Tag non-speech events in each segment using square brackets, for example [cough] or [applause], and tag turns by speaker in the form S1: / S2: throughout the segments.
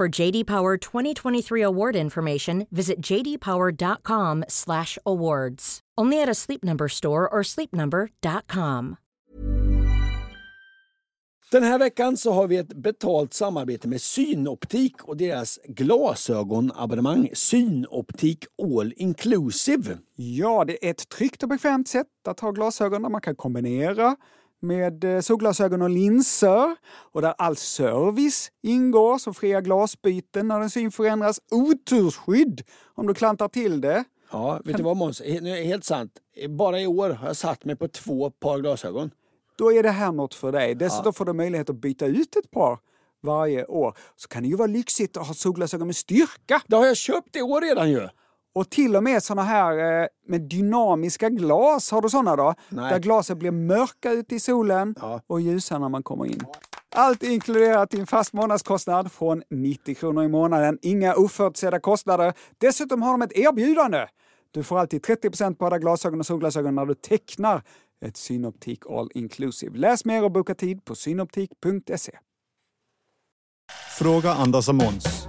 S1: For JD Power 2023 award information, visit jdpower.com/awards. Only at a Sleep Number store or sleepnumber.com.
S2: Den här veckan så har vi ett betalt samarbete med Synoptik och deras glasögonabonnemang Synoptik All Inclusive.
S3: Ja, det är ett tryggt och bekvämt sätt att ha glasögon där man kan kombinera med eh, solglasögon och linser och där all service ingår som fria glasbyten när din syn förändras, otursskydd om du klantar till det.
S2: Ja, vet du vad Måns? He- nu är det Helt sant. Eh, Bara i år har jag satt mig på två par glasögon.
S3: Då är det här något för dig. Dessutom får du möjlighet att byta ut ett par varje år. Så kan det ju vara lyxigt att ha solglasögon med styrka.
S2: Det har jag köpt i år redan ju!
S3: Och till och med såna här eh, med dynamiska glas, har du såna då?
S2: Nej.
S3: Där glaset blir mörka ute i solen och ljusa när man kommer in. Allt inkluderat i en fast månadskostnad från 90 kronor i månaden. Inga oförutsedda kostnader. Dessutom har de ett erbjudande. Du får alltid 30 på alla glasögon och solglasögon när du tecknar ett Synoptik All Inclusive. Läs mer och boka tid på synoptik.se.
S4: Fråga Anders och Måns.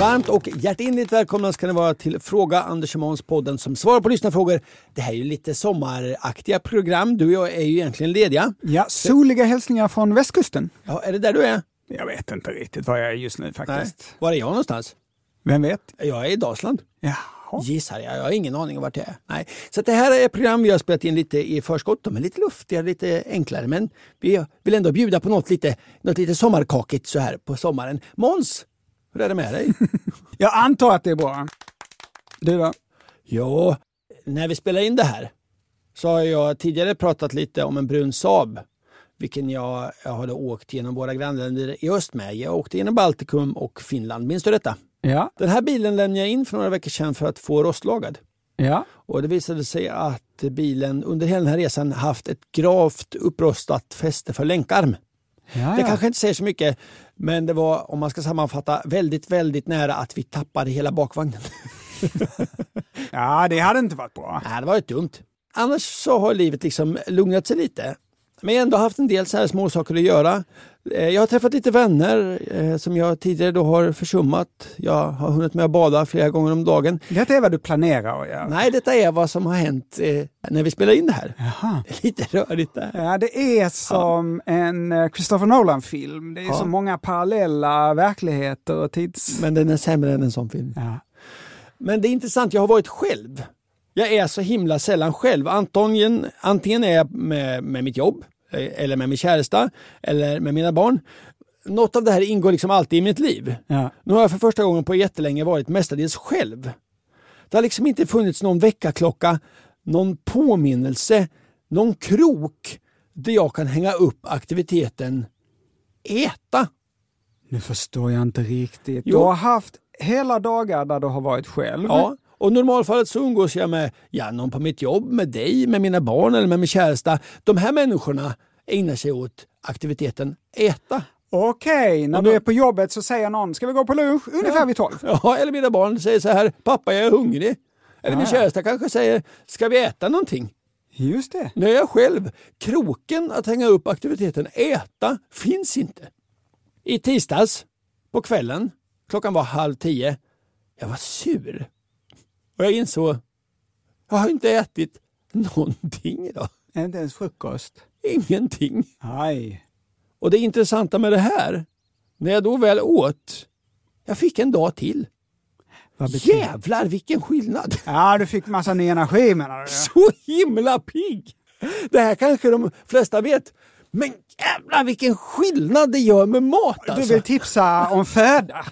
S2: Varmt och hjärtinligt välkomna ska ni vara till Fråga Anders och Måns, podden som svarar på lyssnarfrågor. Det här är ju lite sommaraktiga program. Du och jag är ju egentligen lediga.
S3: Ja, soliga hälsningar från västkusten.
S2: Ja, är det där du är?
S3: Jag vet inte riktigt var jag är just nu faktiskt.
S2: Var är jag någonstans?
S3: Vem vet?
S2: Jag är i Dalsland.
S3: Jaha.
S2: Gissar jag. Jag har ingen aning om vart jag är. Nej. Så att det här är ett program vi har spelat in lite i förskott. De är lite luftiga, lite enklare, men vi vill ändå bjuda på något lite, något lite sommarkakigt så här på sommaren. Måns, hur är det med dig?
S3: Jag antar att det är bra. Du då?
S2: Ja, när vi spelar in det här så har jag tidigare pratat lite om en brun Saab, vilken jag, jag hade åkt genom våra grannländer i öst med. Jag åkte genom Baltikum och Finland. Minns du detta?
S3: Ja.
S2: Den här bilen lämnade jag in för några veckor sedan för att få rostlagad.
S3: Ja.
S2: Och det visade sig att bilen under hela den här resan haft ett gravt upprostat fäste för länkarm.
S3: ja,
S2: Det
S3: Ah, ja.
S2: kanske inte säger så mycket, men det var, om man ska sammanfatta, väldigt, väldigt nära att vi tappade hela bakvagnen. [laughs]
S3: ja, det hade inte varit bra.
S2: Nej, det var ju dumt. Annars så har livet liksom lugnat sig lite. Men jag har ändå haft en del så här små saker att göra. Eh, Jag har träffat lite vänner eh, som jag tidigare då har försummat. Jag har hunnit med att bada flera gånger om dagen.
S3: Detta är vad du planerar att göra.
S2: Nej, detta är vad som har hänt eh, när vi spelar in det här. [laughs]
S3: Jaha.
S2: Det är lite rörigt där.
S3: Ja, det är som en eh, Christopher Nolan-film. Det är så många parallella verkligheter och tids...
S2: Men den är sämre än en sån film.
S3: Ja.
S2: Men det är intressant, jag har varit själv. Jag är så himla sällan själv. Antingen, antingen är jag med, med mitt jobb, eh, eller med min käresta, eller med mina barn. Något av det här ingår liksom alltid i mitt liv.
S3: Ja.
S2: Nu har jag för första gången på jättelänge varit mestadels själv. Det har liksom inte funnits någon väckarklocka, någon påminnelse, någon krok där jag kan hänga upp aktiviteten äta.
S3: Nu förstår jag inte riktigt.
S2: Jo.
S3: Du har haft hela dagar där du har varit själv.
S2: Ja, och i normalfallet så umgås jag med ja, någon på mitt jobb, med dig, med mina barn eller med min käresta. De här människorna ägnar sig åt aktiviteten äta.
S3: Okej, när
S2: Och
S3: du
S2: då-
S3: är på jobbet så säger någon “ska vi gå på lunch?” ungefär vid tolv.
S2: Ja, eller mina barn säger så här, pappa jag är hungrig. Eller min käresta kanske säger, ska vi äta någonting?
S3: Just det.
S2: Nu är jag själv. Kroken att hänga upp aktiviteten äta finns inte. I tisdags på kvällen, klockan var halv tio, jag var sur. Och jag insåg, jag har inte ätit någonting idag.
S3: Inte ens frukost.
S2: Ingenting.
S3: Nej.
S2: Och det intressanta med det här, när jag då väl åt, jag fick en dag till.
S3: Vad betyder-
S2: Jävlar vilken skillnad!
S3: Ja, du fick massa ny energi menar du?
S2: [laughs] Så himla pigg! Det här kanske de flesta vet. Men jävlar vilken skillnad det gör med mat
S3: Du
S2: alltså!
S3: vill tipsa om föda?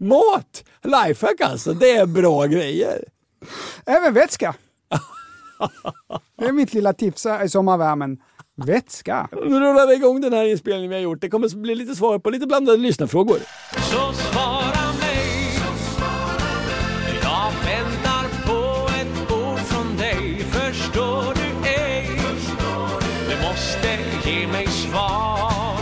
S2: Mat! Lifehack alltså, det är bra grejer. [laughs]
S3: Även vätska. Det är mitt lilla tips här i sommarvärmen. Vätska.
S2: Nu rullar vi igång den här inspelningen vi har gjort. Det kommer bli lite svar på lite blandade lyssnarfrågor.
S4: Så svara mig Jag väntar på ett ord från dig Förstår du ej Du måste ge mig svar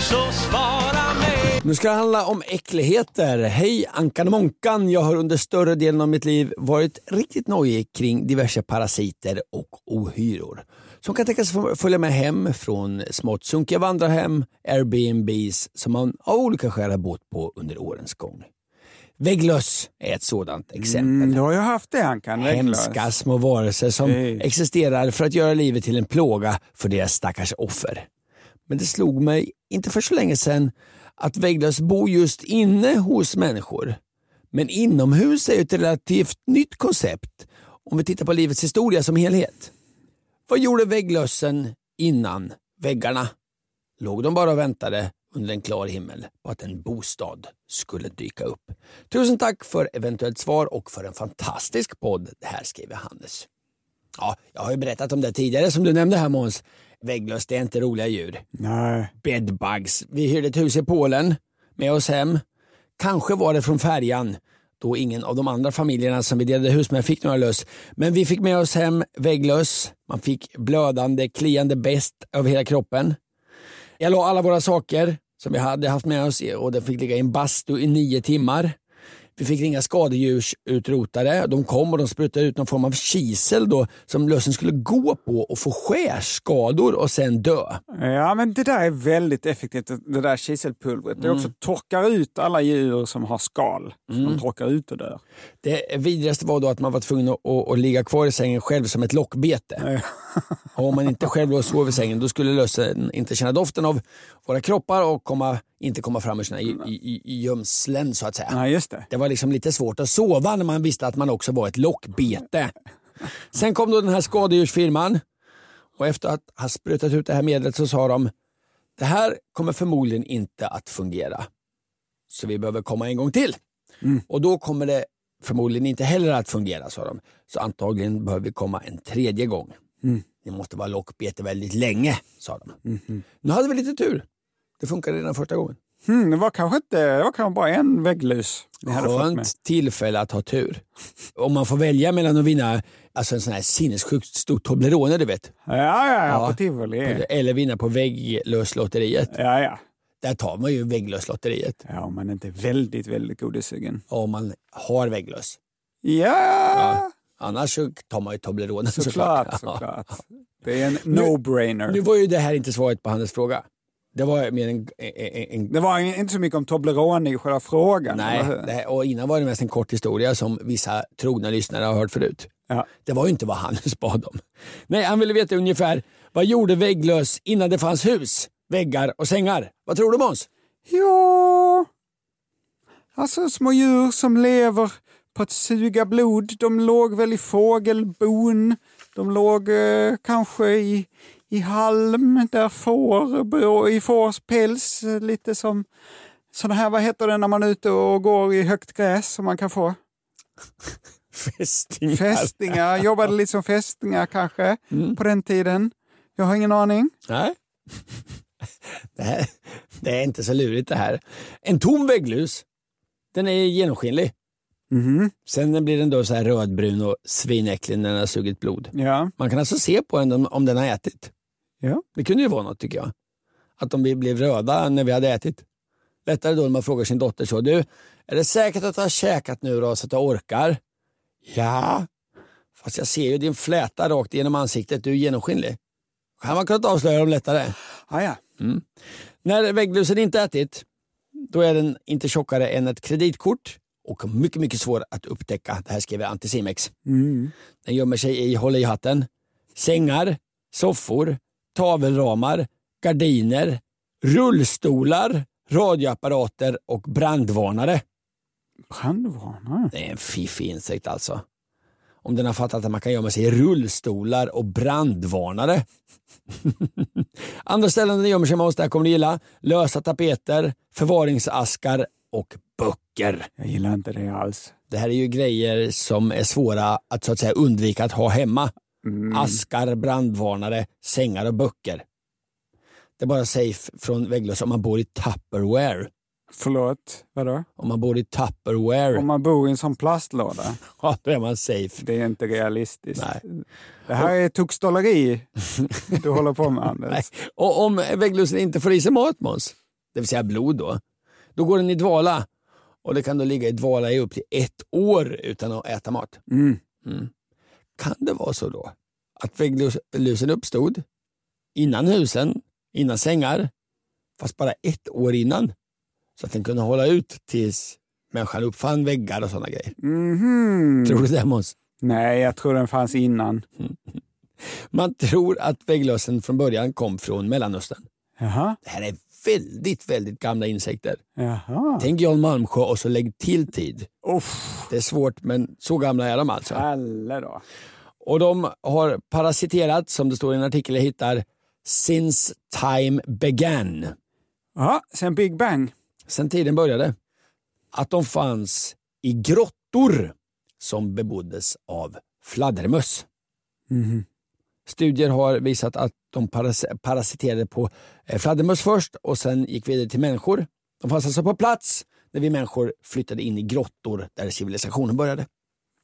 S4: Så svara mig
S2: Nu ska det handla om äckligheter. Hej Ankan och Monkan. Jag har under större delen av mitt liv varit riktigt nojig kring diverse parasiter och ohyror. Som kan tänkas få- följa med hem från smått sunkiga vandrarhem, Airbnbs som man av olika skäl har bott på under årens gång. Vägglöss är ett sådant exempel.
S3: Mm, du har ju haft det Ankan. Vägglöss.
S2: Hemska små varelser som
S3: Nej.
S2: existerar för att göra livet till en plåga för deras stackars offer. Men det slog mig, inte för så länge sedan, att vägglöss bor just inne hos människor. Men inomhus är ju ett relativt nytt koncept om vi tittar på livets historia som helhet. Vad gjorde vägglössen innan väggarna? låg de bara och väntade under en klar himmel på att en bostad skulle dyka upp. Tusen tack för eventuellt svar och för en fantastisk podd. Det här skriver Hannes. Ja, jag har ju berättat om det tidigare som du nämnde här Måns. Vägglöss, det är inte roliga djur.
S3: Nej.
S2: Bedbugs. Vi hyrde ett hus i Polen med oss hem. Kanske var det från färjan då ingen av de andra familjerna som vi delade hus med fick några löss. Men vi fick med oss hem vägglöss. Man fick blödande, kliande bäst över hela kroppen. Jag la alla våra saker som vi hade haft med oss i- och den fick ligga i en bastu i nio timmar. Vi fick ringa skadedjursutrotare. De kom och de sprutade ut någon form av kisel då, som lössen skulle gå på och få skärskador och sen dö.
S3: Ja, men det där är väldigt effektivt, det- det där kiselpulvret. Det
S2: Mm.
S3: också torkar ut alla djur som har skal. De torkar ut och dör.
S2: Det vidrigaste var då att man var tvungen att, att, att ligga kvar i sängen själv som ett lockbete. och [laughs] om man inte själv låg och sov i sängen då skulle lössen inte känna doften av våra kroppar och komma, inte komma fram ur sina i- i- i- gömslen så att säga.
S3: Ja, just det.
S2: Det var liksom lite svårt att sova när man visste att man också var ett lockbete. Sen kom då den här skadedjursfirman och efter att ha sprutat ut det här medlet så sa de det här kommer förmodligen inte att fungera. Så vi behöver komma en gång till. Och då kommer det förmodligen inte heller att fungera sa de. Så antagligen behöver vi komma en tredje gång. Det måste vara lockbete väldigt länge sa de. Nu hade vi lite tur. Det funkade redan första gången.
S3: Hmm, det var kanske inte, det var kanske bara en vägglöss ni hade fått med.
S2: Skönt tillfälle att ha tur. Om man får välja mellan att vinna alltså en sån här sinnessjukt stor Toblerone, du vet.
S3: Ja, ja, ja,
S2: Ja.
S3: på tivoli.
S2: Eller vinna på vägglöslotteriet.
S3: Ja, ja.
S2: Där tar man ju vägglöslotteriet.
S3: Ja, om man inte är väldigt, väldigt godissugen.
S2: Om man har vägglöss.
S3: Ja,
S2: Annars så tar man ju Toblerone
S3: såklart,
S2: Ja.
S3: såklart. Det är en no-brainer.
S2: Nu var ju det här inte svaret på Hannes fråga. Det var mer en... en, en
S3: Det var inte så mycket om Toblerone i själva frågan.
S2: Nej,
S3: eller hur?
S2: det här, och innan var det mest en kort historia som vissa trogna lyssnare har hört förut.
S3: Ja.
S2: Det var ju inte vad Hannes [laughs] bad om. Nej, han ville veta ungefär vad gjorde vägglöss innan det fanns hus, väggar och sängar? Vad tror du Måns?
S3: Ja, alltså små djur som lever på att suga blod. De låg väl i fågelbon. De låg eh, kanske i, i halm där får, bro- i fårs päls. eh, Lite som sådana här, vad heter det när man är ute och går i högt gräs som man kan få?
S2: Fästingar.
S3: [laughs] Fästingar, jobbade lite som fästingar kanske på den tiden. Jag har ingen aning.
S2: Nej. [laughs] Det, här, det är inte så lurigt det här. En tom vägglus, den är genomskinlig. Sen blir den då så här rödbrun och svinäcklig när den har sugit blod.
S3: Ja,
S2: Man kan alltså se på den om- om den har ätit.
S3: ja.
S2: Det kunde ju vara något tycker jag. Att de blev röda när vi hade ätit. Lättare då när man frågar sin dotter så. Du, är det säkert att du har käkat nu då så att du orkar? Ja. Fast jag ser ju din fläta rakt genom ansiktet. Du är genomskinlig. Kan man kunnat avslöja dem lättare.
S3: Ah, ja.
S2: När vägglusen inte ätit, då är den inte tjockare än ett kreditkort och mycket, mycket svår att upptäcka. Det här skriver Anticimex.
S3: Mm.
S2: Den gömmer sig i håll i hatten, sängar, soffor, tavelramar, gardiner, rullstolar, radioapparater och brandvarnare.
S3: Brandvarnare?
S2: Det är en fiffig insekt alltså. Om den har fattat att man kan gömma sig i rullstolar och brandvarnare. [laughs] Andra ställen den gömmer sig hemma hos där kommer du gilla. Lösa tapeter, förvaringsaskar och böcker.
S3: Jag gillar inte det alls.
S2: Det här är ju grejer som är svåra att så att säga undvika att ha hemma. Askar, brandvarnare, sängar och böcker. Det är bara safe från vägglöss om man bor i Tupperware.
S3: Förlåt, vadå?
S2: Om man bor i Tupperware,
S3: Om man bor i en sån plastlåda,
S2: [laughs] ja, då är man safe.
S3: det är inte realistiskt.
S2: Nej.
S3: Det här är [laughs] tuxtolleri du håller på med, Anders.
S2: Nej. Och om vägglössen inte får i sig mat, Måns, det vill säga blod då, då går den i dvala. Och det kan då ligga i dvala i upp till ett år utan att äta mat.
S3: Mm.
S2: Kan det vara så då att vägglösen uppstod innan husen, innan sängar, fast bara ett år innan? Så att den kunde hålla ut tills människan uppfann väggar och sådana grejer.
S3: Mhm.
S2: Tror du det Måns?
S3: Nej, jag tror den fanns innan.
S2: Man tror att vägglössen från början kom från Mellanöstern.
S3: Jaha,
S2: Det här är väldigt, väldigt gamla insekter.
S3: jaha.
S2: Tänk Jan Malmsjö och så lägg till tid.
S3: Uff,
S2: Det är svårt, men så gamla är de alltså.
S3: Kalle då.
S2: Och de har parasiterat, som det står i en artikel jag hittar, since time began.
S3: Ja, sen Big Bang.
S2: Sen tiden började. Att de fanns i grottor som beboddes av fladdermöss.
S3: Mhm.
S2: Studier har visat att de paras parasiterade på eh, fladdermöss först och sen gick vidare till människor. De fanns alltså på plats när vi människor flyttade in i grottor där civilisationen började.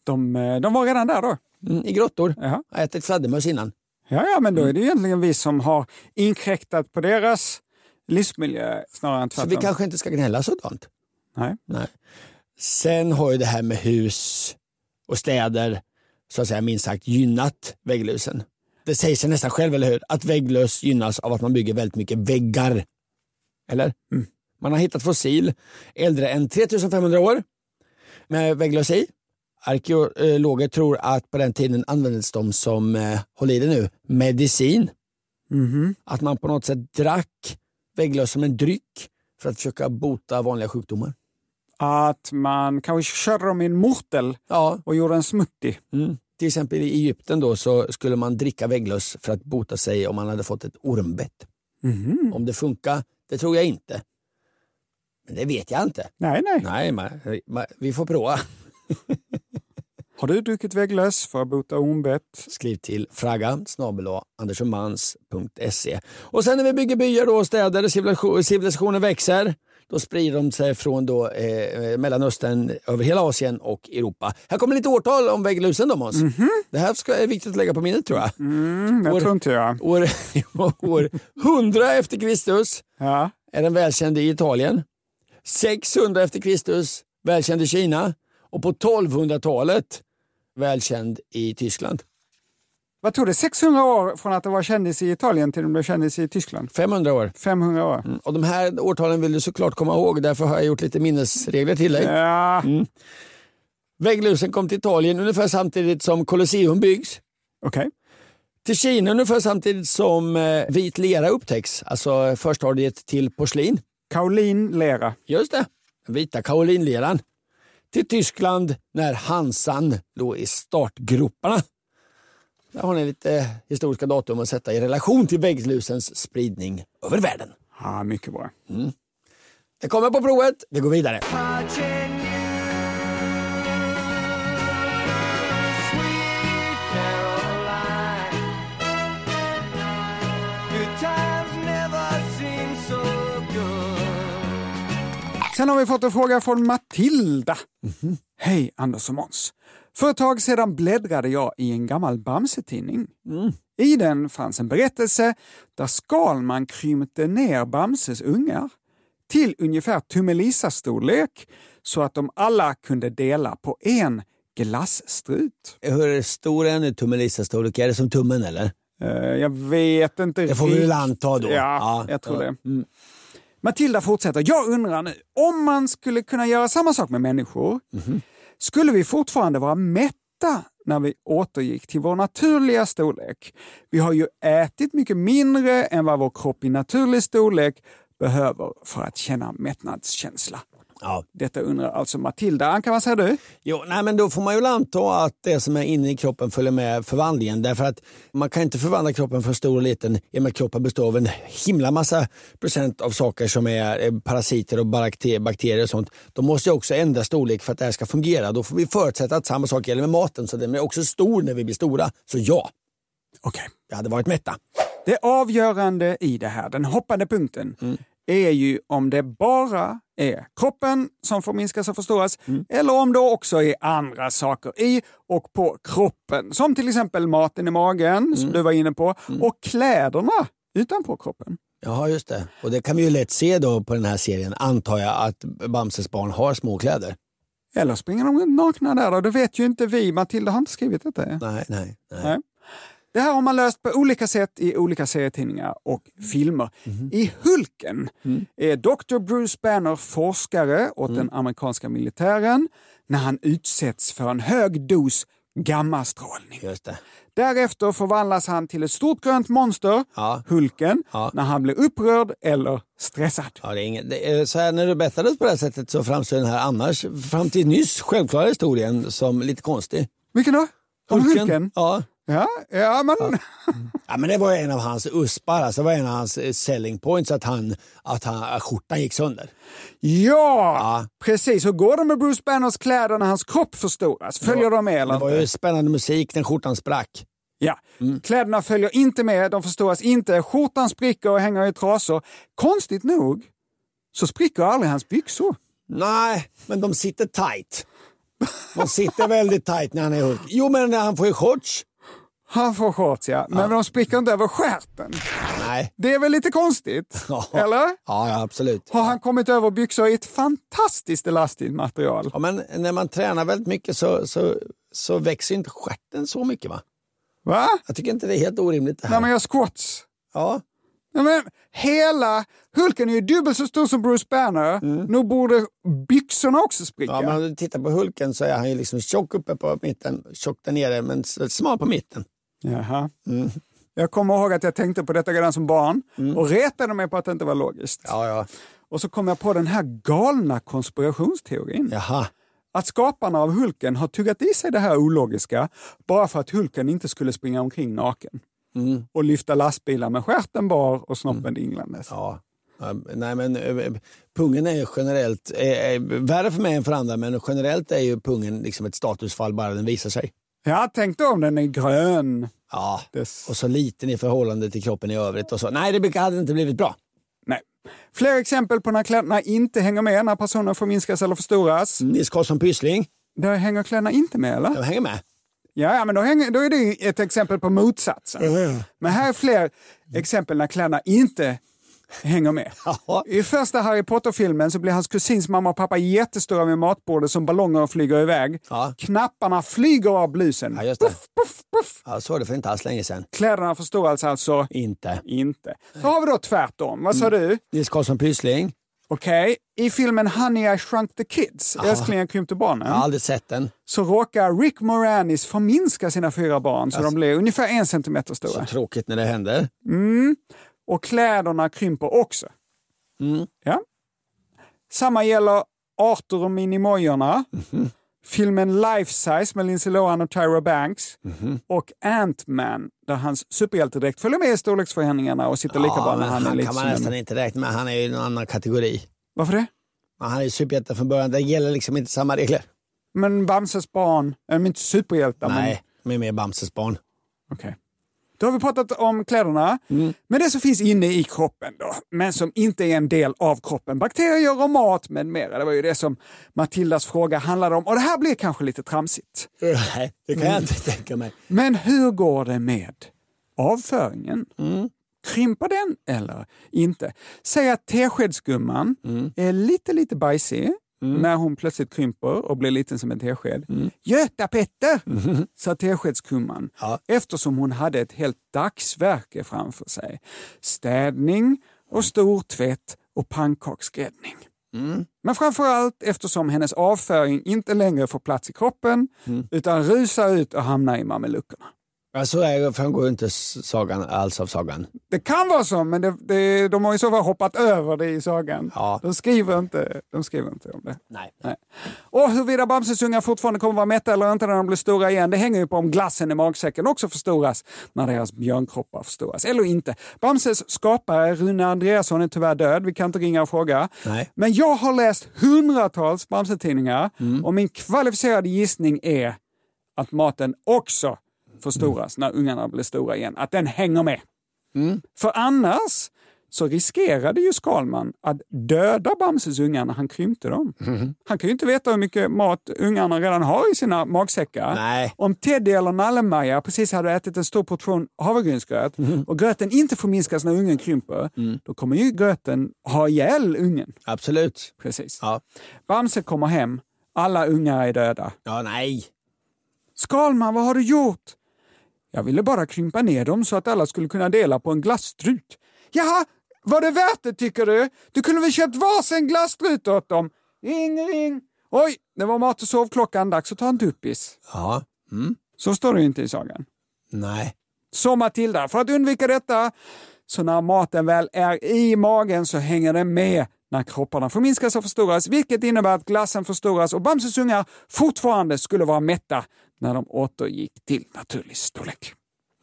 S3: De, eh, de var redan där då.
S2: Mm, I grottor.
S3: Jaha.
S2: Jag har ätit fladdermöss innan.
S3: Ja, ja, men då är det egentligen vi som har inkräktat på deras livsmiljö snarare än
S2: Så
S3: tvärtom.
S2: vi kanske inte ska gnälla sådant.
S3: Nej.
S2: Nej. Sen har ju det här med hus och städer så att säga minst sagt gynnat vägglösen. Det säger sig nästan själv, eller hur? Att vägglös gynnas av att man bygger väldigt mycket väggar. Eller? Mm. Man har hittat fossil äldre än 3500 år med vägglös i. Arkeologer tror att på den tiden användes de som, eh, håll i det nu, medicin.
S3: Mhm.
S2: Att man på något sätt drack vägglös som en dryck för att försöka bota vanliga sjukdomar.
S3: Att man kanske körde dem i en mortel
S2: Ja,
S3: och gjorde en smoothie.
S2: Mm. Till exempel i Egypten då så skulle man dricka vägglöss för att bota sig om man hade fått ett ormbett.
S3: Mhm.
S2: Om det funkar, det tror jag inte. Men det vet jag inte.
S3: Nej, nej.
S2: Nej, man, man, vi får prova.
S3: Har du druckit vägglöss för att bota ormbett?
S2: Skriv till fragga snabel andersomans.se. Och sen när vi bygger byar då, och städer, civilisation- civilisationen växer, då sprider de sig från då, eh, Mellanöstern över hela Asien och Europa. Här kommer lite årtal om vägglösen då Måns. Det här ska, är viktigt att lägga på minnet tror Mhm. jag.
S3: Mm, jag
S2: År-
S3: tror inte jag.
S2: år, [laughs] år 100 efter Kristus
S3: Ja.
S2: är den välkänd i Italien. 600 efter Kristus välkänd i Kina och på 1200-talet välkänd i Tyskland.
S3: Vad tog det? 600 år från att det var kändis i Italien till att de blev kändis i Tyskland?
S2: 500 år.
S3: 500 år?
S2: Och de här årtalen vill du såklart komma ihåg, därför har jag gjort lite minnesregler till dig.
S3: Ja,
S2: Vägglusen kom till Italien ungefär samtidigt som Colosseum byggs.
S3: okej.
S2: Till Kina ungefär samtidigt som eh, vit lera upptäcks, alltså förstadiet till porslin.
S3: Kaolin lera.
S2: Just det, den vita kaolinleran. Till Tyskland när Hansan låg i startgroparna. Där har ni lite historiska datum att sätta i relation till vägglusens spridning över världen.
S3: Ja, mycket bra.
S2: Det kommer på provet, vi går vidare.
S3: Sen har vi fått en fråga från Matilda. Hej Anders och Måns. För ett tag sedan bläddrade jag i en gammal Bamse-tidning. I den fanns en berättelse där Skalman krympte ner Bamses ungar till ungefär Tummelisa-storlek så att de alla kunde dela på en glasstrut.
S2: Hur stor är nu tummelisastorlek? Är det som tummen eller?
S3: Eh, jag vet inte
S2: Det får vi väl anta då. Mm.
S3: Ja, jag tror det. Matilda fortsätter. Jag undrar nu, om man skulle kunna göra samma sak med människor,
S2: Mhm.
S3: skulle vi fortfarande vara mätta när vi återgick till vår naturliga storlek? Vi har ju ätit mycket mindre än vad vår kropp i naturlig storlek behöver för att känna mättnadskänsla.
S2: Ja.
S3: Detta undrar alltså Matilda. Anka, vad säger du?
S2: Jo, nej, men då får man ju anta att det som är inne i kroppen följer med förvandlingen. Därför att man kan inte förvandla kroppen från stor och liten i och med att kroppen består av en himla massa procent av saker som är eh, parasiter och barakte- bakterier och sånt. De måste ju också ändra storlek för att det här ska fungera. Då får vi förutsätta att samma sak gäller med maten, så den blir också stor när vi blir stora. Så ja,
S3: Okej.
S2: vi hade varit mätta.
S3: Det avgörande i det här, den hoppande punkten, är ju om det bara är kroppen som får minskas och förstoras eller om det också är andra saker i och på kroppen. Som till exempel maten i magen, som du var inne på, och kläderna utanpå kroppen.
S2: Jaha, just det. Och det kan vi ju lätt se då på den här serien, antar jag, att Bamses barn har småkläder.
S3: Eller springer de runt nakna där då? Det vet ju inte vi. Matilda har inte skrivit detta.
S2: Nej, nej, nej.
S3: Nej. Det här har man löst på olika sätt i olika serietidningar och
S2: Mm.
S3: filmer.
S2: Mm-hmm.
S3: I Hulken är Dr. Bruce Banner forskare
S2: Mm.
S3: åt den amerikanska militären när han utsätts för en hög dos gammastrålning.
S2: Just det.
S3: Därefter förvandlas han till ett stort grönt monster,
S2: Ja.
S3: Hulken,
S2: Ja.
S3: när han blir upprörd eller stressad.
S2: Ja, det är inget, det är, så här, när du berättade på det här sättet så framstår den här annars, fram till nyss, självklara historien som lite konstig.
S3: Vilken då? Om Hulken?
S2: Ja.
S3: Ja, ja, men...
S2: ja, men det var en av hans uspar, alltså, det var en av hans eh, selling points att, han, att, han, att skjortan gick sönder.
S3: Ja,
S2: Ja.
S3: precis. Hur går det med Bruce Banners kläder när hans kropp förstoras? Följer de med eller
S2: Det var
S3: inte?
S2: ju spännande musik när skjortan sprack.
S3: Ja.
S2: Mm.
S3: Kläderna följer inte med, de förstoras inte, skjortan spricker och hänger i trasor. Konstigt nog så spricker aldrig hans byxor.
S2: Nej, men de sitter tight. De sitter väldigt tight när han är Hulk. Jo, men när han får ju shorts.
S3: Han får shorts ja, men de spricker inte över stjärten.
S2: Nej.
S3: Det är väl lite konstigt?
S2: [laughs] Ja.
S3: Eller?
S2: Ja, ja, absolut.
S3: Har han kommit över byxor i ett fantastiskt elastiskt material?
S2: Ja, men när man tränar väldigt mycket så, så, så växer inte stjärten så mycket, va?
S3: Va?
S2: Jag tycker inte det är helt orimligt det här.
S3: När man gör squats?
S2: Ja.
S3: Nej, men hela Hulken är ju dubbelt så stor som Bruce Banner. Nu borde byxorna också spricka.
S2: Mm. Ja, men om du tittar på Hulken så är han ju liksom tjock uppe på mitten, tjock där nere, men s- smal på mitten.
S3: Jaha. Mm. Jag kommer ihåg att jag tänkte på detta redan som barn och retade mig på att det inte var logiskt.
S2: Mm. Ja, ja.
S3: Och så kom jag på den här galna konspirationsteorin.
S2: Jaha.
S3: Att skaparna av Hulken har tuggat i sig det här ologiska bara för att Hulken inte skulle springa omkring naken
S2: Mm.
S3: och lyfta lastbilar med stjärten bar och snoppen dinglandes.
S2: Ja. Ja, Nej, men eh, pungen är ju generellt, eh, eh, värre för mig än för andra, men generellt är ju pungen liksom ett statusfall bara den visar sig.
S3: Ja, tänk då om den är grön.
S2: Ja,
S3: Des-
S2: och så liten i förhållande till kroppen i övrigt. Och så. Nej, det brukar- hade inte blivit bra.
S3: Nej. Fler exempel på när kläderna inte hänger med när personen förminskas eller förstoras.
S2: Nils Karlsson Pyssling,
S3: Där hänger kläderna inte med eller?
S2: jag hänger med.
S3: Ja, ja men då, hänger, då är det ju ett exempel på motsatsen. Men här är fler exempel när kläderna inte
S2: [laughs]
S3: hänger med.
S2: Ja.
S3: I första Harry Potter-filmen så blir hans kusins mamma och pappa jättestora vid matbordet som ballonger och flyger iväg.
S2: Ja.
S3: Knapparna flyger av blusen.
S2: Ja, just det.
S3: Puff, puff.
S2: Ja, så var det för inte alls länge sedan.
S3: Kläderna förstoras alltså
S2: Inte.
S3: inte. Så har vi då tvärtom. Vad sa du?
S2: Nils Karlsson Pyssling,
S3: Okej, i filmen Honey I Shrunk the Kids, Älsklingen krympte barnen,
S2: jag har aldrig sett den.
S3: så råkar Rick Moranis förminska sina fyra barn så
S2: Alltså.
S3: de blir ungefär en centimeter stora.
S2: Så tråkigt när det händer.
S3: och kläderna krymper också.
S2: Mm.
S3: Ja. Samma gäller Arthur och Minimojorna,
S2: Mm-hmm.
S3: filmen Life Size med Lindsay Lohan och Tyra Banks
S2: Mm-hmm.
S3: och Ant-Man där hans superhjältedräkt följer med i storleksförändringarna och sitter lika bra när
S2: men
S3: han är
S2: han
S3: lite
S2: kan man
S3: som
S2: nästan
S3: en...
S2: inte räkna med. Han är ju i en annan kategori.
S3: Varför det?
S2: Men Han är ju superhjälte från början. Det gäller liksom inte samma regler.
S3: Men Bamses barn, är de inte superhjältar? Men...
S2: Nej, de är mer Bamses barn.
S3: Okej. Då har vi pratat om kläderna, men det som finns inne i kroppen då, men som inte är en del av kroppen. Bakterier och mat med mera, det var ju det som Matildas fråga handlade om. Och det här blir kanske lite tramsigt.
S2: Nej, det kan jag inte tänka mig.
S3: Men hur går det med avföringen? Krymper den eller inte? Säg att teskedsgumman är lite, lite bajsig när hon plötsligt krymper och blir liten som en tesked. Göta Petter, sa teskedsgumman eftersom hon hade ett helt dagsverke framför sig. Städning och stor tvätt och pannkaksgräddning. Men framför allt eftersom hennes avföring inte längre får plats i kroppen utan rusar ut och hamnar i mameluckerna.
S2: Ja, så är det framgår ju inte s- sagan alls av sagan.
S3: Det kan vara så, men det, det, de har i så fall hoppat över det i sagan.
S2: Ja.
S3: De, skriver inte, de skriver inte om det.
S2: Nej.
S3: Nej. Och huruvida Bamses ungar fortfarande kommer vara mätta eller inte när de blir stora igen, det hänger ju på om glassen i magsäcken också förstoras när deras björnkroppar förstoras. Eller inte. Bamses skapare Rune Andreasson är tyvärr död, vi kan inte ringa och fråga.
S2: Nej.
S3: Men jag har läst hundratals Bamse-tidningar
S2: Mm.
S3: och min kvalificerade gissning är att maten också förstoras när ungarna blir stora igen. Att den hänger med. För annars så riskerade ju Skalman att döda Bamses ungar när han krympte dem.
S2: Mhm.
S3: Han kan ju inte veta hur mycket mat ungarna redan har i sina magsäckar.
S2: Nej.
S3: Om Teddy eller Nallemaja precis hade ätit en stor portion havregrynsgröt
S2: Mhm.
S3: och gröten inte får minskas när ungen krymper,
S2: Mm.
S3: då kommer ju gröten ha ihjäl ungen.
S2: Absolut.
S3: Precis.
S2: Ja.
S3: Bamse kommer hem, alla ungar är döda.
S2: Ja, nej.
S3: Skalman, vad har du gjort? Jag ville bara krympa ner dem så att alla skulle kunna dela på en glasstrut. Jaha, var det värt det tycker du? Du kunde väl köpt varsin glasstrut åt dem? Ring, ring! Oj, det var mat och sovklockan, dags att ta en duppis.
S2: Ja. Mm.
S3: Så står det ju inte i sagan.
S2: Nej.
S3: Så Matilda, för att undvika detta, så när maten väl är i magen så hänger den med när kropparna förminskas och förstoras, vilket innebär att glassen förstoras och Bamses ungar fortfarande skulle vara mätta när de återgick till naturlig storlek.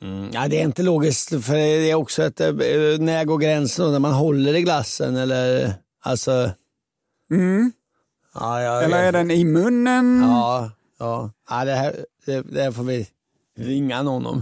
S2: Mm. Ja, det är inte logiskt, för det är också att eh, när går gränsen då, när man håller i glassen eller alltså... Ja, ja,
S3: Mm. Eller är den i munnen?
S2: Ja, ja. ja det, här, det, det här får vi ringa någon om.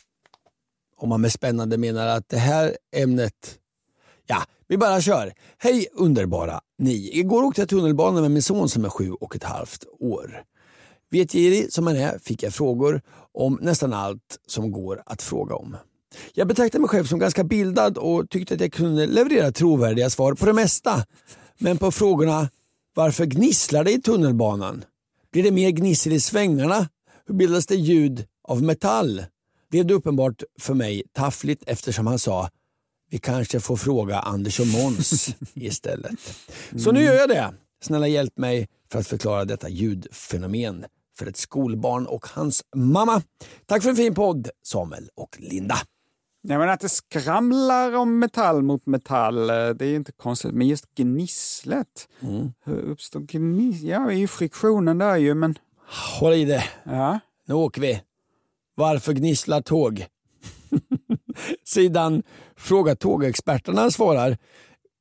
S2: Om man med spännande menar att det här ämnet... Ja, vi bara kör. Hej underbara ni. Igår åkte jag tunnelbana med min son som är sju och ett halvt år. Vetgirig som han är fick jag frågor om nästan allt som går att fråga om. Jag betraktar mig själv som ganska bildad och tyckte att jag kunde leverera trovärdiga svar på det mesta. Men på frågorna varför gnisslar det i tunnelbanan? Blir det mer gnissel i svängarna? Hur bildas det ljud av metall? Blev det uppenbart för mig taffligt eftersom han sa vi kanske får fråga Anders och Måns istället. Så nu gör jag det. Snälla hjälp mig för att förklara detta ljudfenomen för ett skolbarn och hans mamma. Tack för en fin podd, Samuel och Linda.
S3: Nej, men att det skramlar om metall mot metall, eh, det är inte konstigt. Men just gnisslet, hur uppstår gnisslet? Ja, det är ju friktionen där ju, men...
S2: Håll i det,
S3: Ja.
S2: nu åker vi. Varför gnisslar tåg? [laughs] Sidan Fråga tågexperterna svarar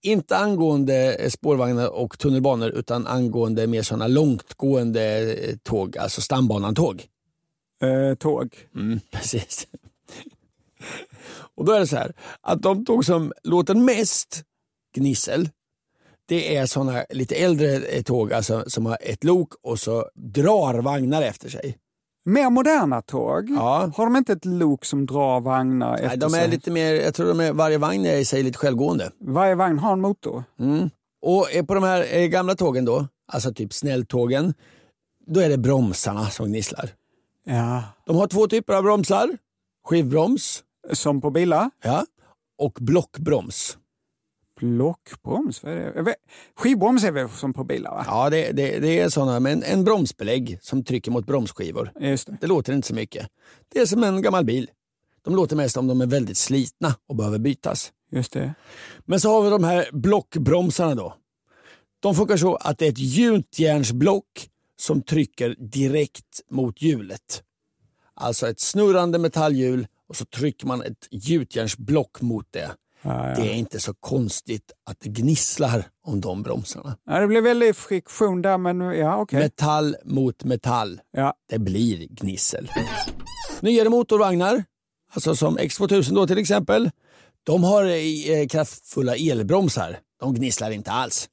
S2: inte angående eh, spårvagnar och tunnelbanor utan angående mer sådana långtgående eh, tåg, alltså stambanan-tåg. [laughs]
S3: Eh, tåg.
S2: Precis. Och då är det så här, att de tåg som låter mest gnissel, Det är såna lite äldre eh, tåg alltså, som har ett lok och så drar vagnar efter sig.
S3: Mer moderna tåg,
S2: Ja.
S3: har de inte ett lok som drar vagnar efter
S2: Nej, de är
S3: sig?
S2: lite mer, jag tror de är, varje vagn är i sig lite självgående.
S3: Varje vagn har en motor.
S2: Och eh, på de här eh, gamla tågen då, alltså typ snälltågen, då är det bromsarna som gnisslar.
S3: Ja.
S2: De har två typer av bromsar. Skivbroms
S3: Som på bilar.
S2: ja, och blockbroms.
S3: Blockbroms, vad är det? Jag vet- Skivbroms är väl som på bilar? Va?
S2: Ja, det, det, det är sådana med en, en bromsbelägg som trycker mot bromsskivor.
S3: Just det.
S2: Det låter inte så mycket. Det är som en gammal bil. De låter mest om de är väldigt slitna och behöver bytas.
S3: Just det.
S2: Men så har vi de här blockbromsarna då. De funkar så att det är ett gjutjärnsblock som trycker direkt mot hjulet. Alltså ett snurrande metallhjul och så trycker man ett gjutjärnsblock mot det. Det är inte så konstigt att det gnisslar om de bromsarna.
S3: Ja, det blev väldigt friktion där, men ja, okej.
S2: Metall mot metall.
S3: Ja.
S2: Det blir gnissel. Nyare motorvagnar, alltså som X2000 då till exempel, de har eh, kraftfulla elbromsar. De gnisslar inte alls.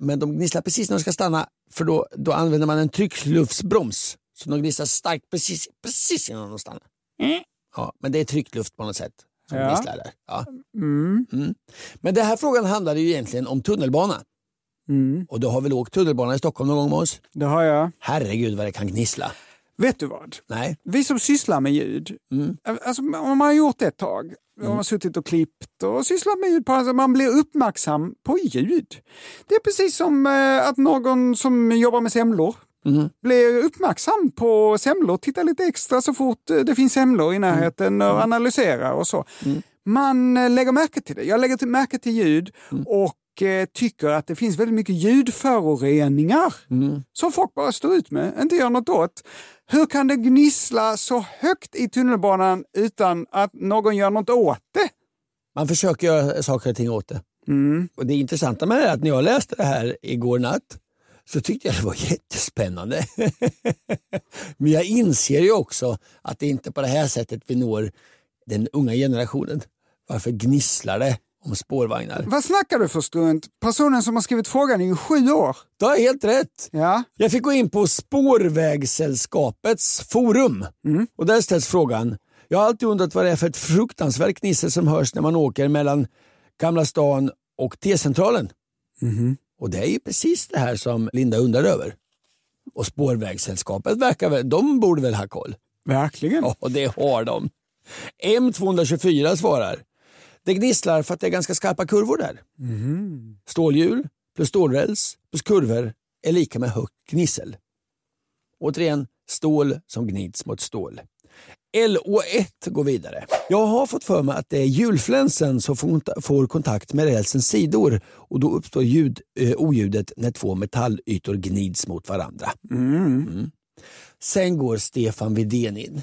S2: Men de gnisslar precis när de ska stanna för då, då använder man en tryckluftsbroms. Så de gnisslar starkt precis, precis innan de stannar. Ja, men det är tryckluft på något sätt som
S3: Ja.
S2: gnisslar där. Ja. Mm. Men den här frågan handlade ju egentligen om tunnelbana. Och du har väl åkt tunnelbana i Stockholm någon gång med oss?
S3: Det har jag.
S2: Herregud vad det kan gnissla.
S3: Vet du vad?
S2: Nej.
S3: Vi som sysslar med ljud, alltså, om man har gjort det ett tag, om man har suttit och klippt och sysslat med ljud, på, alltså, man blir uppmärksam på ljud. Det är precis som eh, att någon som jobbar med semlor blir uppmärksam på semlor, tittar lite extra så fort eh, det finns semlor i närheten och analyserar och så. Man eh, lägger märke till det. Jag lägger till, märke till ljud och eh, tycker att det finns väldigt mycket ljudföroreningar som folk bara står ut med, inte gör något åt. Hur kan det gnissla så högt i tunnelbanan utan att någon gör något åt det?
S2: Man försöker göra saker och ting åt det. Och det intressanta med det är att när jag läste det här igår natt så tyckte jag det var [laughs] jättespännande. Men jag inser ju också att det är inte på det här sättet vi når den unga generationen. Varför gnisslar det om spårvagnar?
S3: Vad snackar du för strunt? Personen som har skrivit frågan är ju sju år.
S2: Du har helt rätt!
S3: Ja,
S2: Jag fick gå in på Spårvägssällskapets forum och där ställs frågan. Jag har alltid undrat vad det är för ett fruktansvärt gnissel som hörs när man åker mellan Gamla stan och T-centralen. Och det är ju precis det här som Linda undrar över. Och Spårvägssällskapet verkar väl, de borde väl ha koll?
S3: verkligen.
S2: Ja, det har de. M224 svarar. Det gnisslar för att det är ganska skarpa kurvor där. Stålhjul plus stålräls plus kurvor är lika med högt gnissel. Återigen, stål som gnids mot stål. LO1 går vidare. Jag har fått för mig att det är hjulflänsen som får kont- får kontakt med rälsens sidor och då uppstår ljud, eh, oljudet när två metallytor gnids mot varandra. Mm. Sen går Stefan Widén in.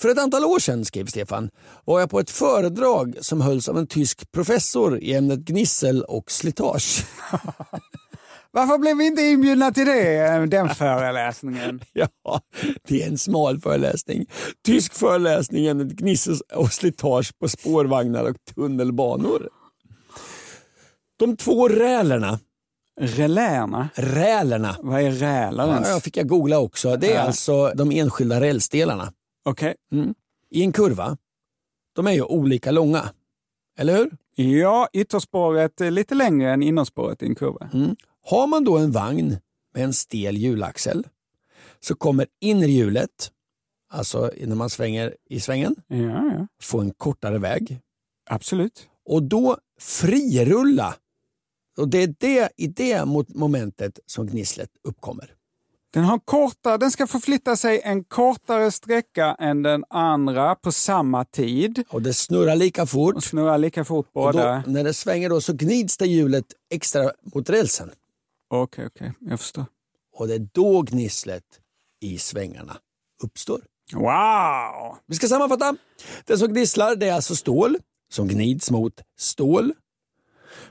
S2: För ett antal år sedan, skrev Stefan, var jag på ett föredrag som hölls av en tysk professor i ämnet gnissel och slitage. [laughs]
S3: Varför blev vi inte inbjudna till det, eh, den föreläsningen?
S2: Ja, det är en smal föreläsning. Tysk föreläsning i ämnet gnissel och slitage på spårvagnar och tunnelbanor. De två rälerna,
S3: Reläerna?
S2: rälerna,
S3: Vad är rälar ens?
S2: ja, fick jag googla också. Det är
S3: Ja.
S2: alltså de enskilda rälsdelarna
S3: Okej. Mm.
S2: i en kurva. De är ju olika långa, eller hur?
S3: Ja, ytterspåret är lite längre än innerspåret i en kurva.
S2: Har man då en vagn med en stel hjulaxel så kommer innerhjulet, alltså när man svänger i svängen,
S3: Ja, ja.
S2: få en kortare väg
S3: Absolut.
S2: och då frirulla. Och det är det, i det mot- momentet som gnisslet uppkommer.
S3: Den, har korta, den ska förflytta sig en kortare sträcka än den andra på samma tid.
S2: Och det snurrar lika
S3: Och
S2: fort.
S3: snurrar lika fort
S2: Och
S3: båda.
S2: då, när det svänger då så gnids det hjulet extra mot rälsen.
S3: Okej, okej. Jag förstår.
S2: Och det är då gnisslet i svängarna uppstår.
S3: Wow!
S2: Vi ska sammanfatta. Den som gnisslar det är alltså stål som gnids mot stål.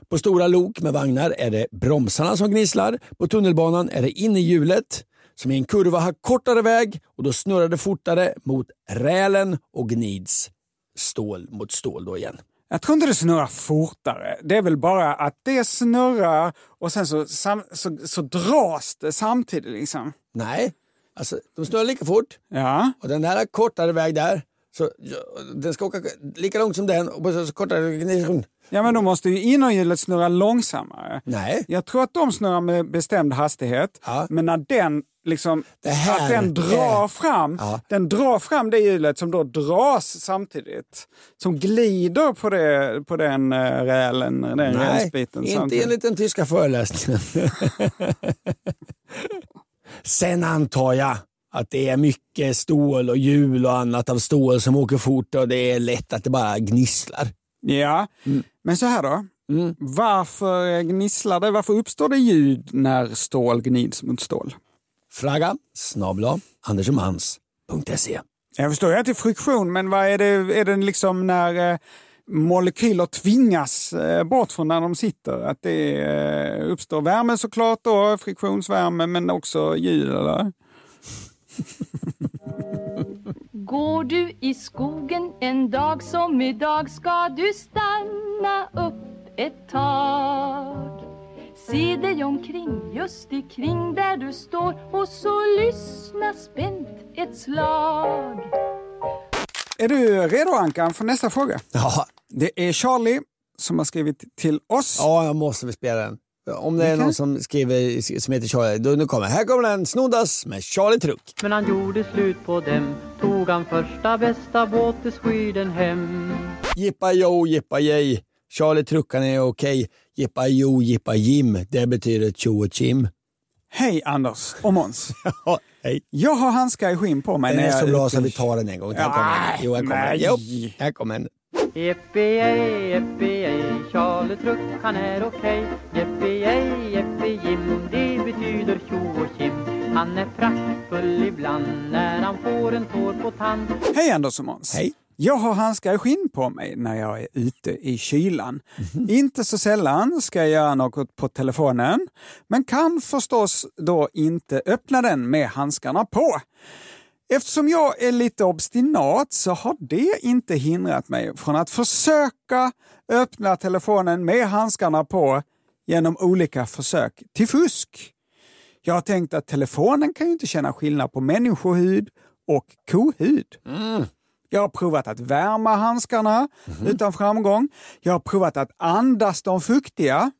S2: På stora lok med vagnar är det bromsarna som gnisslar. På tunnelbanan är det innerhjulet som i en kurva har kortare väg och då snurrar det fortare mot rälen och gnids stål mot stål då igen.
S3: Jag tror inte det snurrar fortare. Det är väl bara att det snurrar och sen så, sam, så, så dras det samtidigt. Liksom.
S2: Nej, alltså de snurrar lika fort
S3: Ja.
S2: och den där har kortare väg där. Så ja, den ska åka lika långt som den och så så kortare...
S3: ja, men då måste ju innerhjulet snurra långsammare.
S2: Nej.
S3: Jag tror att de snurrar med bestämd hastighet,
S2: Ja.
S3: men när den liksom,
S2: Det här-
S3: att den drar
S2: det-
S3: fram,
S2: Ja.
S3: den drar fram det hjulet som då dras samtidigt. Som glider på, det, på den eh, rälen, den
S2: Nej,
S3: rälsbiten
S2: inte enligt den tyska föreläsningen. [laughs] Sen antar jag att det är mycket stål och hjul och annat av stål som åker fort och det är lätt att det bara gnisslar.
S3: Ja,
S2: Mm.
S3: men så här då. Varför gnisslar det? Varför uppstår det ljud när stål gnids mot stål?
S2: Fraga snabla andersomhans.se
S3: Jag förstår ju att det är friktion, men vad är det, är det liksom när eh, molekyler tvingas eh, bort från där de sitter? Att det eh, uppstår värme såklart, då, friktionsvärme, men också ljud? Eller?
S5: Går du i skogen en dag som idag ska du stanna upp ett tag. Se dig omkring, just ikring där du står och så lyssna spänt ett slag.
S3: Är du redo Ankan för nästa fråga?
S2: Ja,
S3: Det är Charlie som har skrivit till oss.
S2: ja, jag måste väl spela den. Om det är någon som skriver som heter Charlie, då nu kommer Här kommer den, Snoddas med Charlie Truck.
S6: Men han gjorde slut på dem Tog han första bästa båt till Sweden hem
S2: Jippa jo, jippa jej. Charlie Truckan är okej. Jippa jo, jippa jim. Det betyder tjo och tjim.
S3: [laughs] Hej Anders och Måns.
S2: Ja, hej.
S3: Jag har handskar i skinn på mig.
S2: Den
S3: när
S2: är
S3: jag
S2: så bra
S3: ute
S2: så
S3: i-
S2: vi tar den en gång. Här kommer
S3: Nej,
S2: den. Jo, här kommer den.
S3: nej.
S2: Jo, här kommer den.
S6: Yippee-yay, yippee-yay Charlie Truck han är okej Yippee-yay, yippee-jim Det betyder tjo och tjim Han är praktfull ibland När han får en tår på tand
S3: Hej Anders och Måns.
S2: Hej.
S3: Jag har handskar i skinn på mig när jag är ute i kylan. Inte så sällan ska jag göra något på telefonen, men kan förstås då inte öppna den med handskarna på. Eftersom jag är lite obstinat så har det inte hindrat mig från att försöka öppna telefonen med handskarna på genom olika försök till fusk. Jag har tänkt att telefonen kan ju inte känna skillnad på människohud och kohud. Jag har provat att värma handskarna utan framgång. Jag har provat att andas de fuktiga.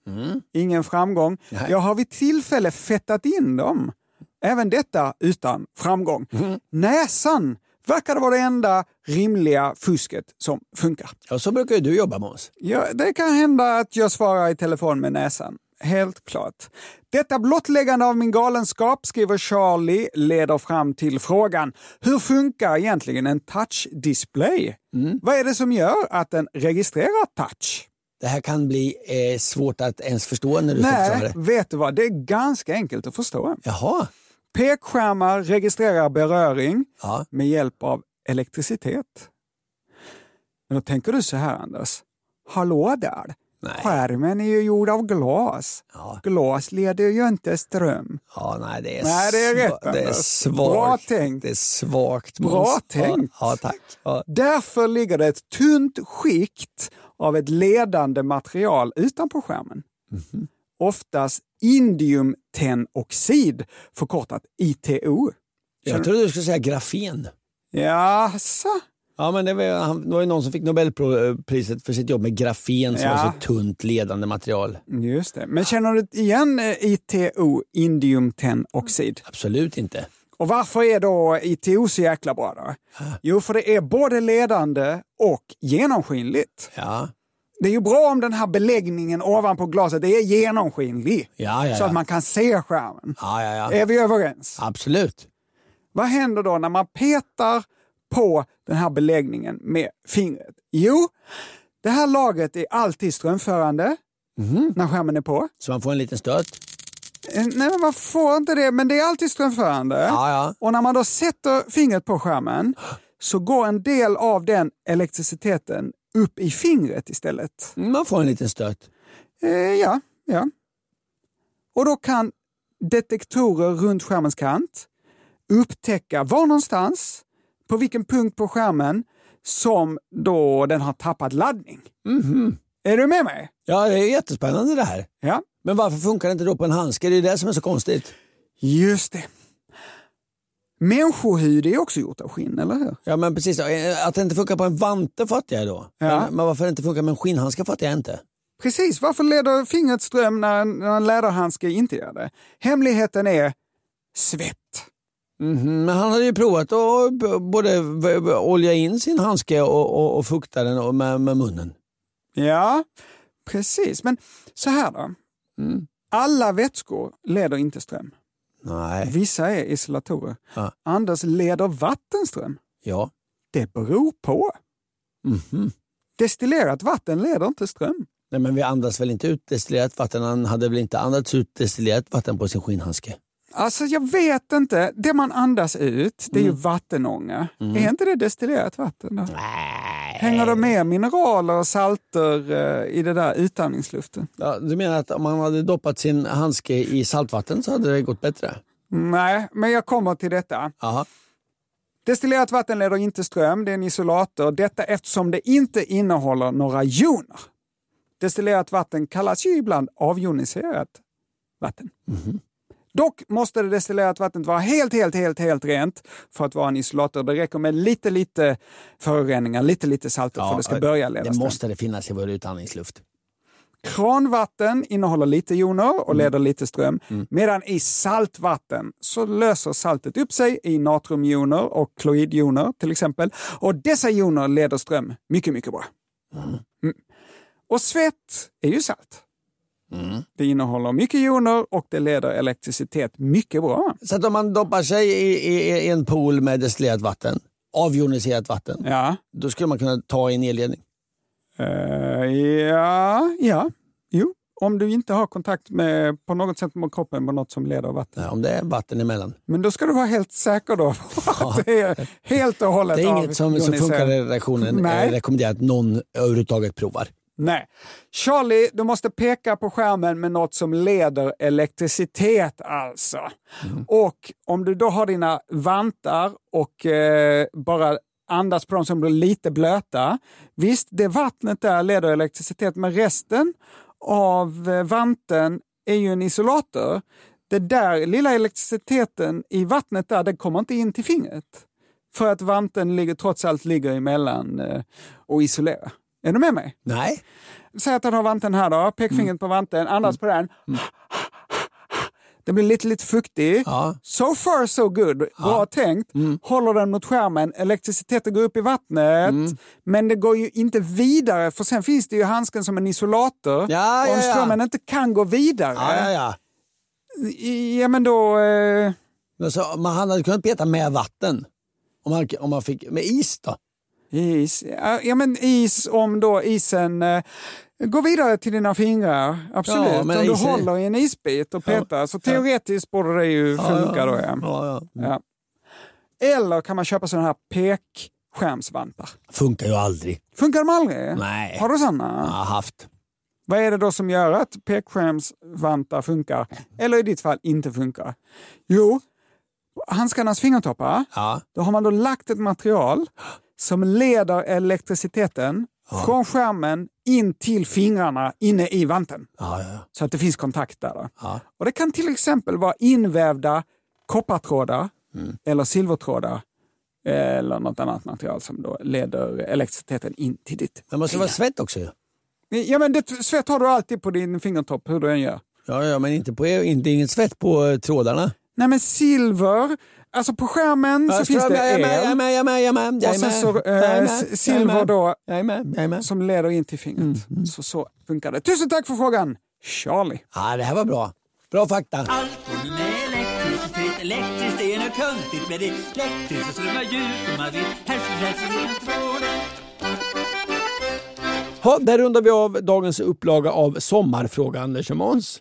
S3: Ingen framgång. Jag har vid tillfälle fettat in dem. Även detta utan framgång. Näsan verkar vara det enda rimliga fusket som funkar.
S2: Ja, så brukar ju du jobba Måns.
S3: Ja, det kan hända att jag svarar i telefon med näsan. Helt klart. Detta blottläggande av min galenskap, skriver Charlie, leder fram till frågan hur funkar egentligen en touch-display? Vad är det som gör att den registrerar touch?
S2: Det här kan bli eh, svårt att ens förstå när du ska förklara
S3: Nej,
S2: det.
S3: vet du vad? Det är ganska enkelt att förstå.
S2: Jaha,
S3: Pekskärmar registrerar beröring
S2: Ja.
S3: med hjälp av elektricitet. Men då tänker du så här, Anders. Hallå där!
S2: Nej.
S3: Skärmen är ju gjord av glas. Glas leder ju inte ström.
S2: ja, nej det är,
S3: Nej, det är
S2: sva-
S3: rätt,
S2: det är
S3: Anders.
S2: svagt.
S3: Bra tänkt.
S2: Det är svagt
S3: Bra
S2: Måns.
S3: tänkt.
S2: Ja, ja tack. Ja.
S3: Därför ligger det ett tunt skikt av ett ledande material utanpå skärmen.
S2: Mhm.
S3: Oftast indiumtenoxid, förkortat ITO.
S2: Jag trodde du skulle säga grafen.
S3: Jaså?
S2: Ja, men det var, ju- han, det var ju någon som fick Nobelpriset för sitt jobb med grafen som
S3: Ja.
S2: var så tunt ledande material.
S3: Just det. Men känner du igen eh, ITO,
S2: Mm.
S3: indiumtenoxid?
S2: Absolut inte.
S3: Och varför är då ITO så jäkla bra då? Jo, för det är både ledande och genomskinligt.
S2: Ja,
S3: Det är ju bra om den här beläggningen ovanpå glaset är genomskinlig.
S2: ja, ja.
S3: Så att
S2: ja.
S3: man kan se skärmen.
S2: ja, ja, ja.
S3: Är vi överens?
S2: Absolut.
S3: Vad händer då när man petar på den här beläggningen med fingret? Jo, det här lagret är alltid strömförande
S2: Mhm.
S3: när skärmen är på.
S2: Så man får en liten stöt.
S3: Eh, Nej, men man får inte det, men det är alltid strömförande.
S2: Ja, ja.
S3: Och när man då sätter fingret
S2: [gasps]
S3: på skärmen så går en del av den elektriciteten upp i fingret istället.
S2: Man får en liten stöt.
S3: Eh, ja, ja. Och då kan detektorer runt skärmens kant upptäcka var någonstans, på vilken punkt på skärmen, som då den har tappat laddning. Är du med mig?
S2: Ja, det är jättespännande det här.
S3: Ja,
S2: Men varför funkar det inte då på en handske? Det är det som är så konstigt.
S3: just det. Människohud är också gjort av skinn, eller hur?
S2: Ja, men precis. Eh, Att det inte funkar på en vante fattar jag då.
S3: Ja.
S2: Men, men varför det inte funkar med en skinnhandske fattar jag inte.
S3: Precis, varför leder fingret ström när en, när en läderhandske inte gör det? Hemligheten är svett.
S2: Mhm, Men han hade ju provat att eh, b- både v- v- olja in sin handske och, och, och fukta den och med, med munnen.
S3: Ja, precis. Men så här då.
S2: Mm.
S3: Alla vätskor leder inte ström.
S2: Nej,
S3: Vissa är isolatorer.
S2: Ja.
S3: Anders, leder vatten ström?
S2: ja.
S3: Det beror på.
S2: Mhm.
S3: Destillerat vatten leder inte ström.
S2: Nej, men vi andas väl inte ut destillerat vatten? Han hade väl inte andats ut destillerat vatten på sin skinnhandske?
S3: Alltså jag vet inte. Det man andas ut, det är
S2: Mm.
S3: ju vattenånga. Är inte det destillerat vatten? Då? Hänger det med mineraler och salter eh, i det där utandningsluften?
S2: Ja, du menar att om han hade doppat sin handske i saltvatten så hade det gått bättre?
S3: Nej, men jag kommer till detta.
S2: Aha.
S3: Destillerat vatten leder inte ström, det är en isolator. Detta eftersom det inte innehåller några joner. Destillerat vatten kallas ju ibland avjoniserat vatten. Dock måste det destillerat vattnet vara helt, helt, helt, helt rent för att vara en isolator. Det räcker med lite, lite föroreningar, lite, lite salter för att det ska börja leda
S2: Det
S3: ström.
S2: måste det finnas i vår utandningsluft.
S3: Kranvatten innehåller lite joner och leder lite ström. Medan i saltvatten så löser saltet upp sig i natriumjoner och kloridjoner till exempel. Och dessa joner leder ström mycket, mycket bra. Mm. Och svett är ju salt. Det innehåller mycket joner och det leder elektricitet mycket bra.
S2: Så att om man doppar sig i, i, i en pool med destillerat vatten, avjoniserat vatten,
S3: Ja,
S2: då skulle man kunna ta i en elledning.
S3: Eh, ja, ja, jo. Om du inte har kontakt med, på något sätt med kroppen med något som leder vatten.
S2: Ja, om det är vatten emellan.
S3: Men då ska du vara helt säker då [laughs] på att det är helt och hållet
S2: Det är
S3: av
S2: inget som, som
S3: Johnny
S2: funkar i
S3: Söder.
S2: redaktionen.
S3: Nej.
S2: Jag rekommenderar att någon överhuvudtaget provar.
S3: Nej. Charlie, du måste peka på skärmen med något som leder elektricitet alltså. Och om du då har dina vantar och eh, bara andas på dem som blir lite blöta. Visst, det vattnet där leder elektricitet, men resten av eh, vanten är ju en isolator. Det där lilla elektriciteten i vattnet där, den kommer inte in till fingret. För att vanten ligger, trots allt ligger emellan eh, och isolerar. Är du med mig?
S2: Nej,
S3: Säg att han har vanten här då, pekfingret
S2: Mm.
S3: på vanten, andas på den. Den blir lite, lite fuktig.
S2: Ja. Mm.
S3: So far so good, bra tänkt. Håller den mot skärmen, elektriciteten går upp i vattnet.
S2: Mm.
S3: Men det går ju inte vidare, för sen finns det ju handsken som en isolator.
S2: Ja,
S3: Och om
S2: ja, ja.
S3: strömmen inte kan gå vidare,
S2: ja, ja, ja.
S3: ja, men då... Eh,
S2: Men så, man han hade kunnat peta med vatten. Om man, om man fick, med is då?
S3: Is. Ja, ja, men is om då isen eh, går vidare till dina fingrar. Absolut.
S2: Ja, men
S3: om du
S2: is är-
S3: håller i en isbit och petar så teoretiskt borde det ju funka då. Ja.
S2: Ja, ja.
S3: Ja. Eller kan man köpa sådana här pekskärmsvantar?
S2: Funkar ju aldrig.
S3: Funkar de aldrig?
S2: Nej.
S3: Har du sådana?
S2: Jag har haft.
S3: Vad är det då som gör att pekskärmsvantar funkar? Eller i ditt fall inte funkar? Jo, handskarnas fingertoppar
S2: Ja.
S3: Då har man då lagt ett material som leder elektriciteten från skärmen in till fingrarna inne i vanten.
S2: Ja, ja, ja.
S3: Så att det finns kontakt där. Då.
S2: Ja.
S3: Och det kan till exempel vara invävda koppartrådar
S2: Mm.
S3: eller silvertrådar eh, eller något annat material som då leder elektriciteten in till ditt.
S2: Det måste vara svett också ju.
S3: Ja, men det, svett har du alltid på din fingertopp hur du än gör.
S2: Ja, ja, men inte på, inte, inget svett på eh, trådarna.
S3: Nej men silver, alltså på skärmen så finns det
S2: jag är med, jag är
S3: el
S2: med, jag är med, jag är med. Jag
S3: och
S2: är
S3: sen
S2: med,
S3: så
S2: jag är
S3: eh,
S2: med,
S3: s-
S2: jag är
S3: silver
S2: med,
S3: då
S2: Jag är med, jag är med. Mm,
S3: som leder in till fingret. Så, så funkar det. Tusen tack för frågan, Charlie.
S2: Ja, det här var bra. Bra fakta.
S7: Allt med elektricitet, elektriskt är nåt konstigt med det Elektriskt så strömmar ljus och man vet hälften hälften genom tråden
S2: Ha, där rundar vi av dagens upplaga av Sommarfråga Anders och Måns.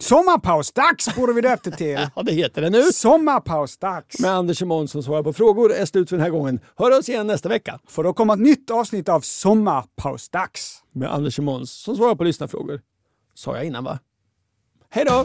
S3: Sommarpausdags borde vi döpt
S2: [laughs]
S3: det till.
S2: Ja, det heter det nu.
S3: Sommarpausdags.
S2: Med Anders och Måns som svarar på frågor är slut för den här gången. Hör oss igen nästa vecka
S3: För då kommer ett nytt avsnitt av Sommarpausdags.
S2: med Anders och Måns som svarar på lyssnarfrågor. Sa jag innan va? Hej då!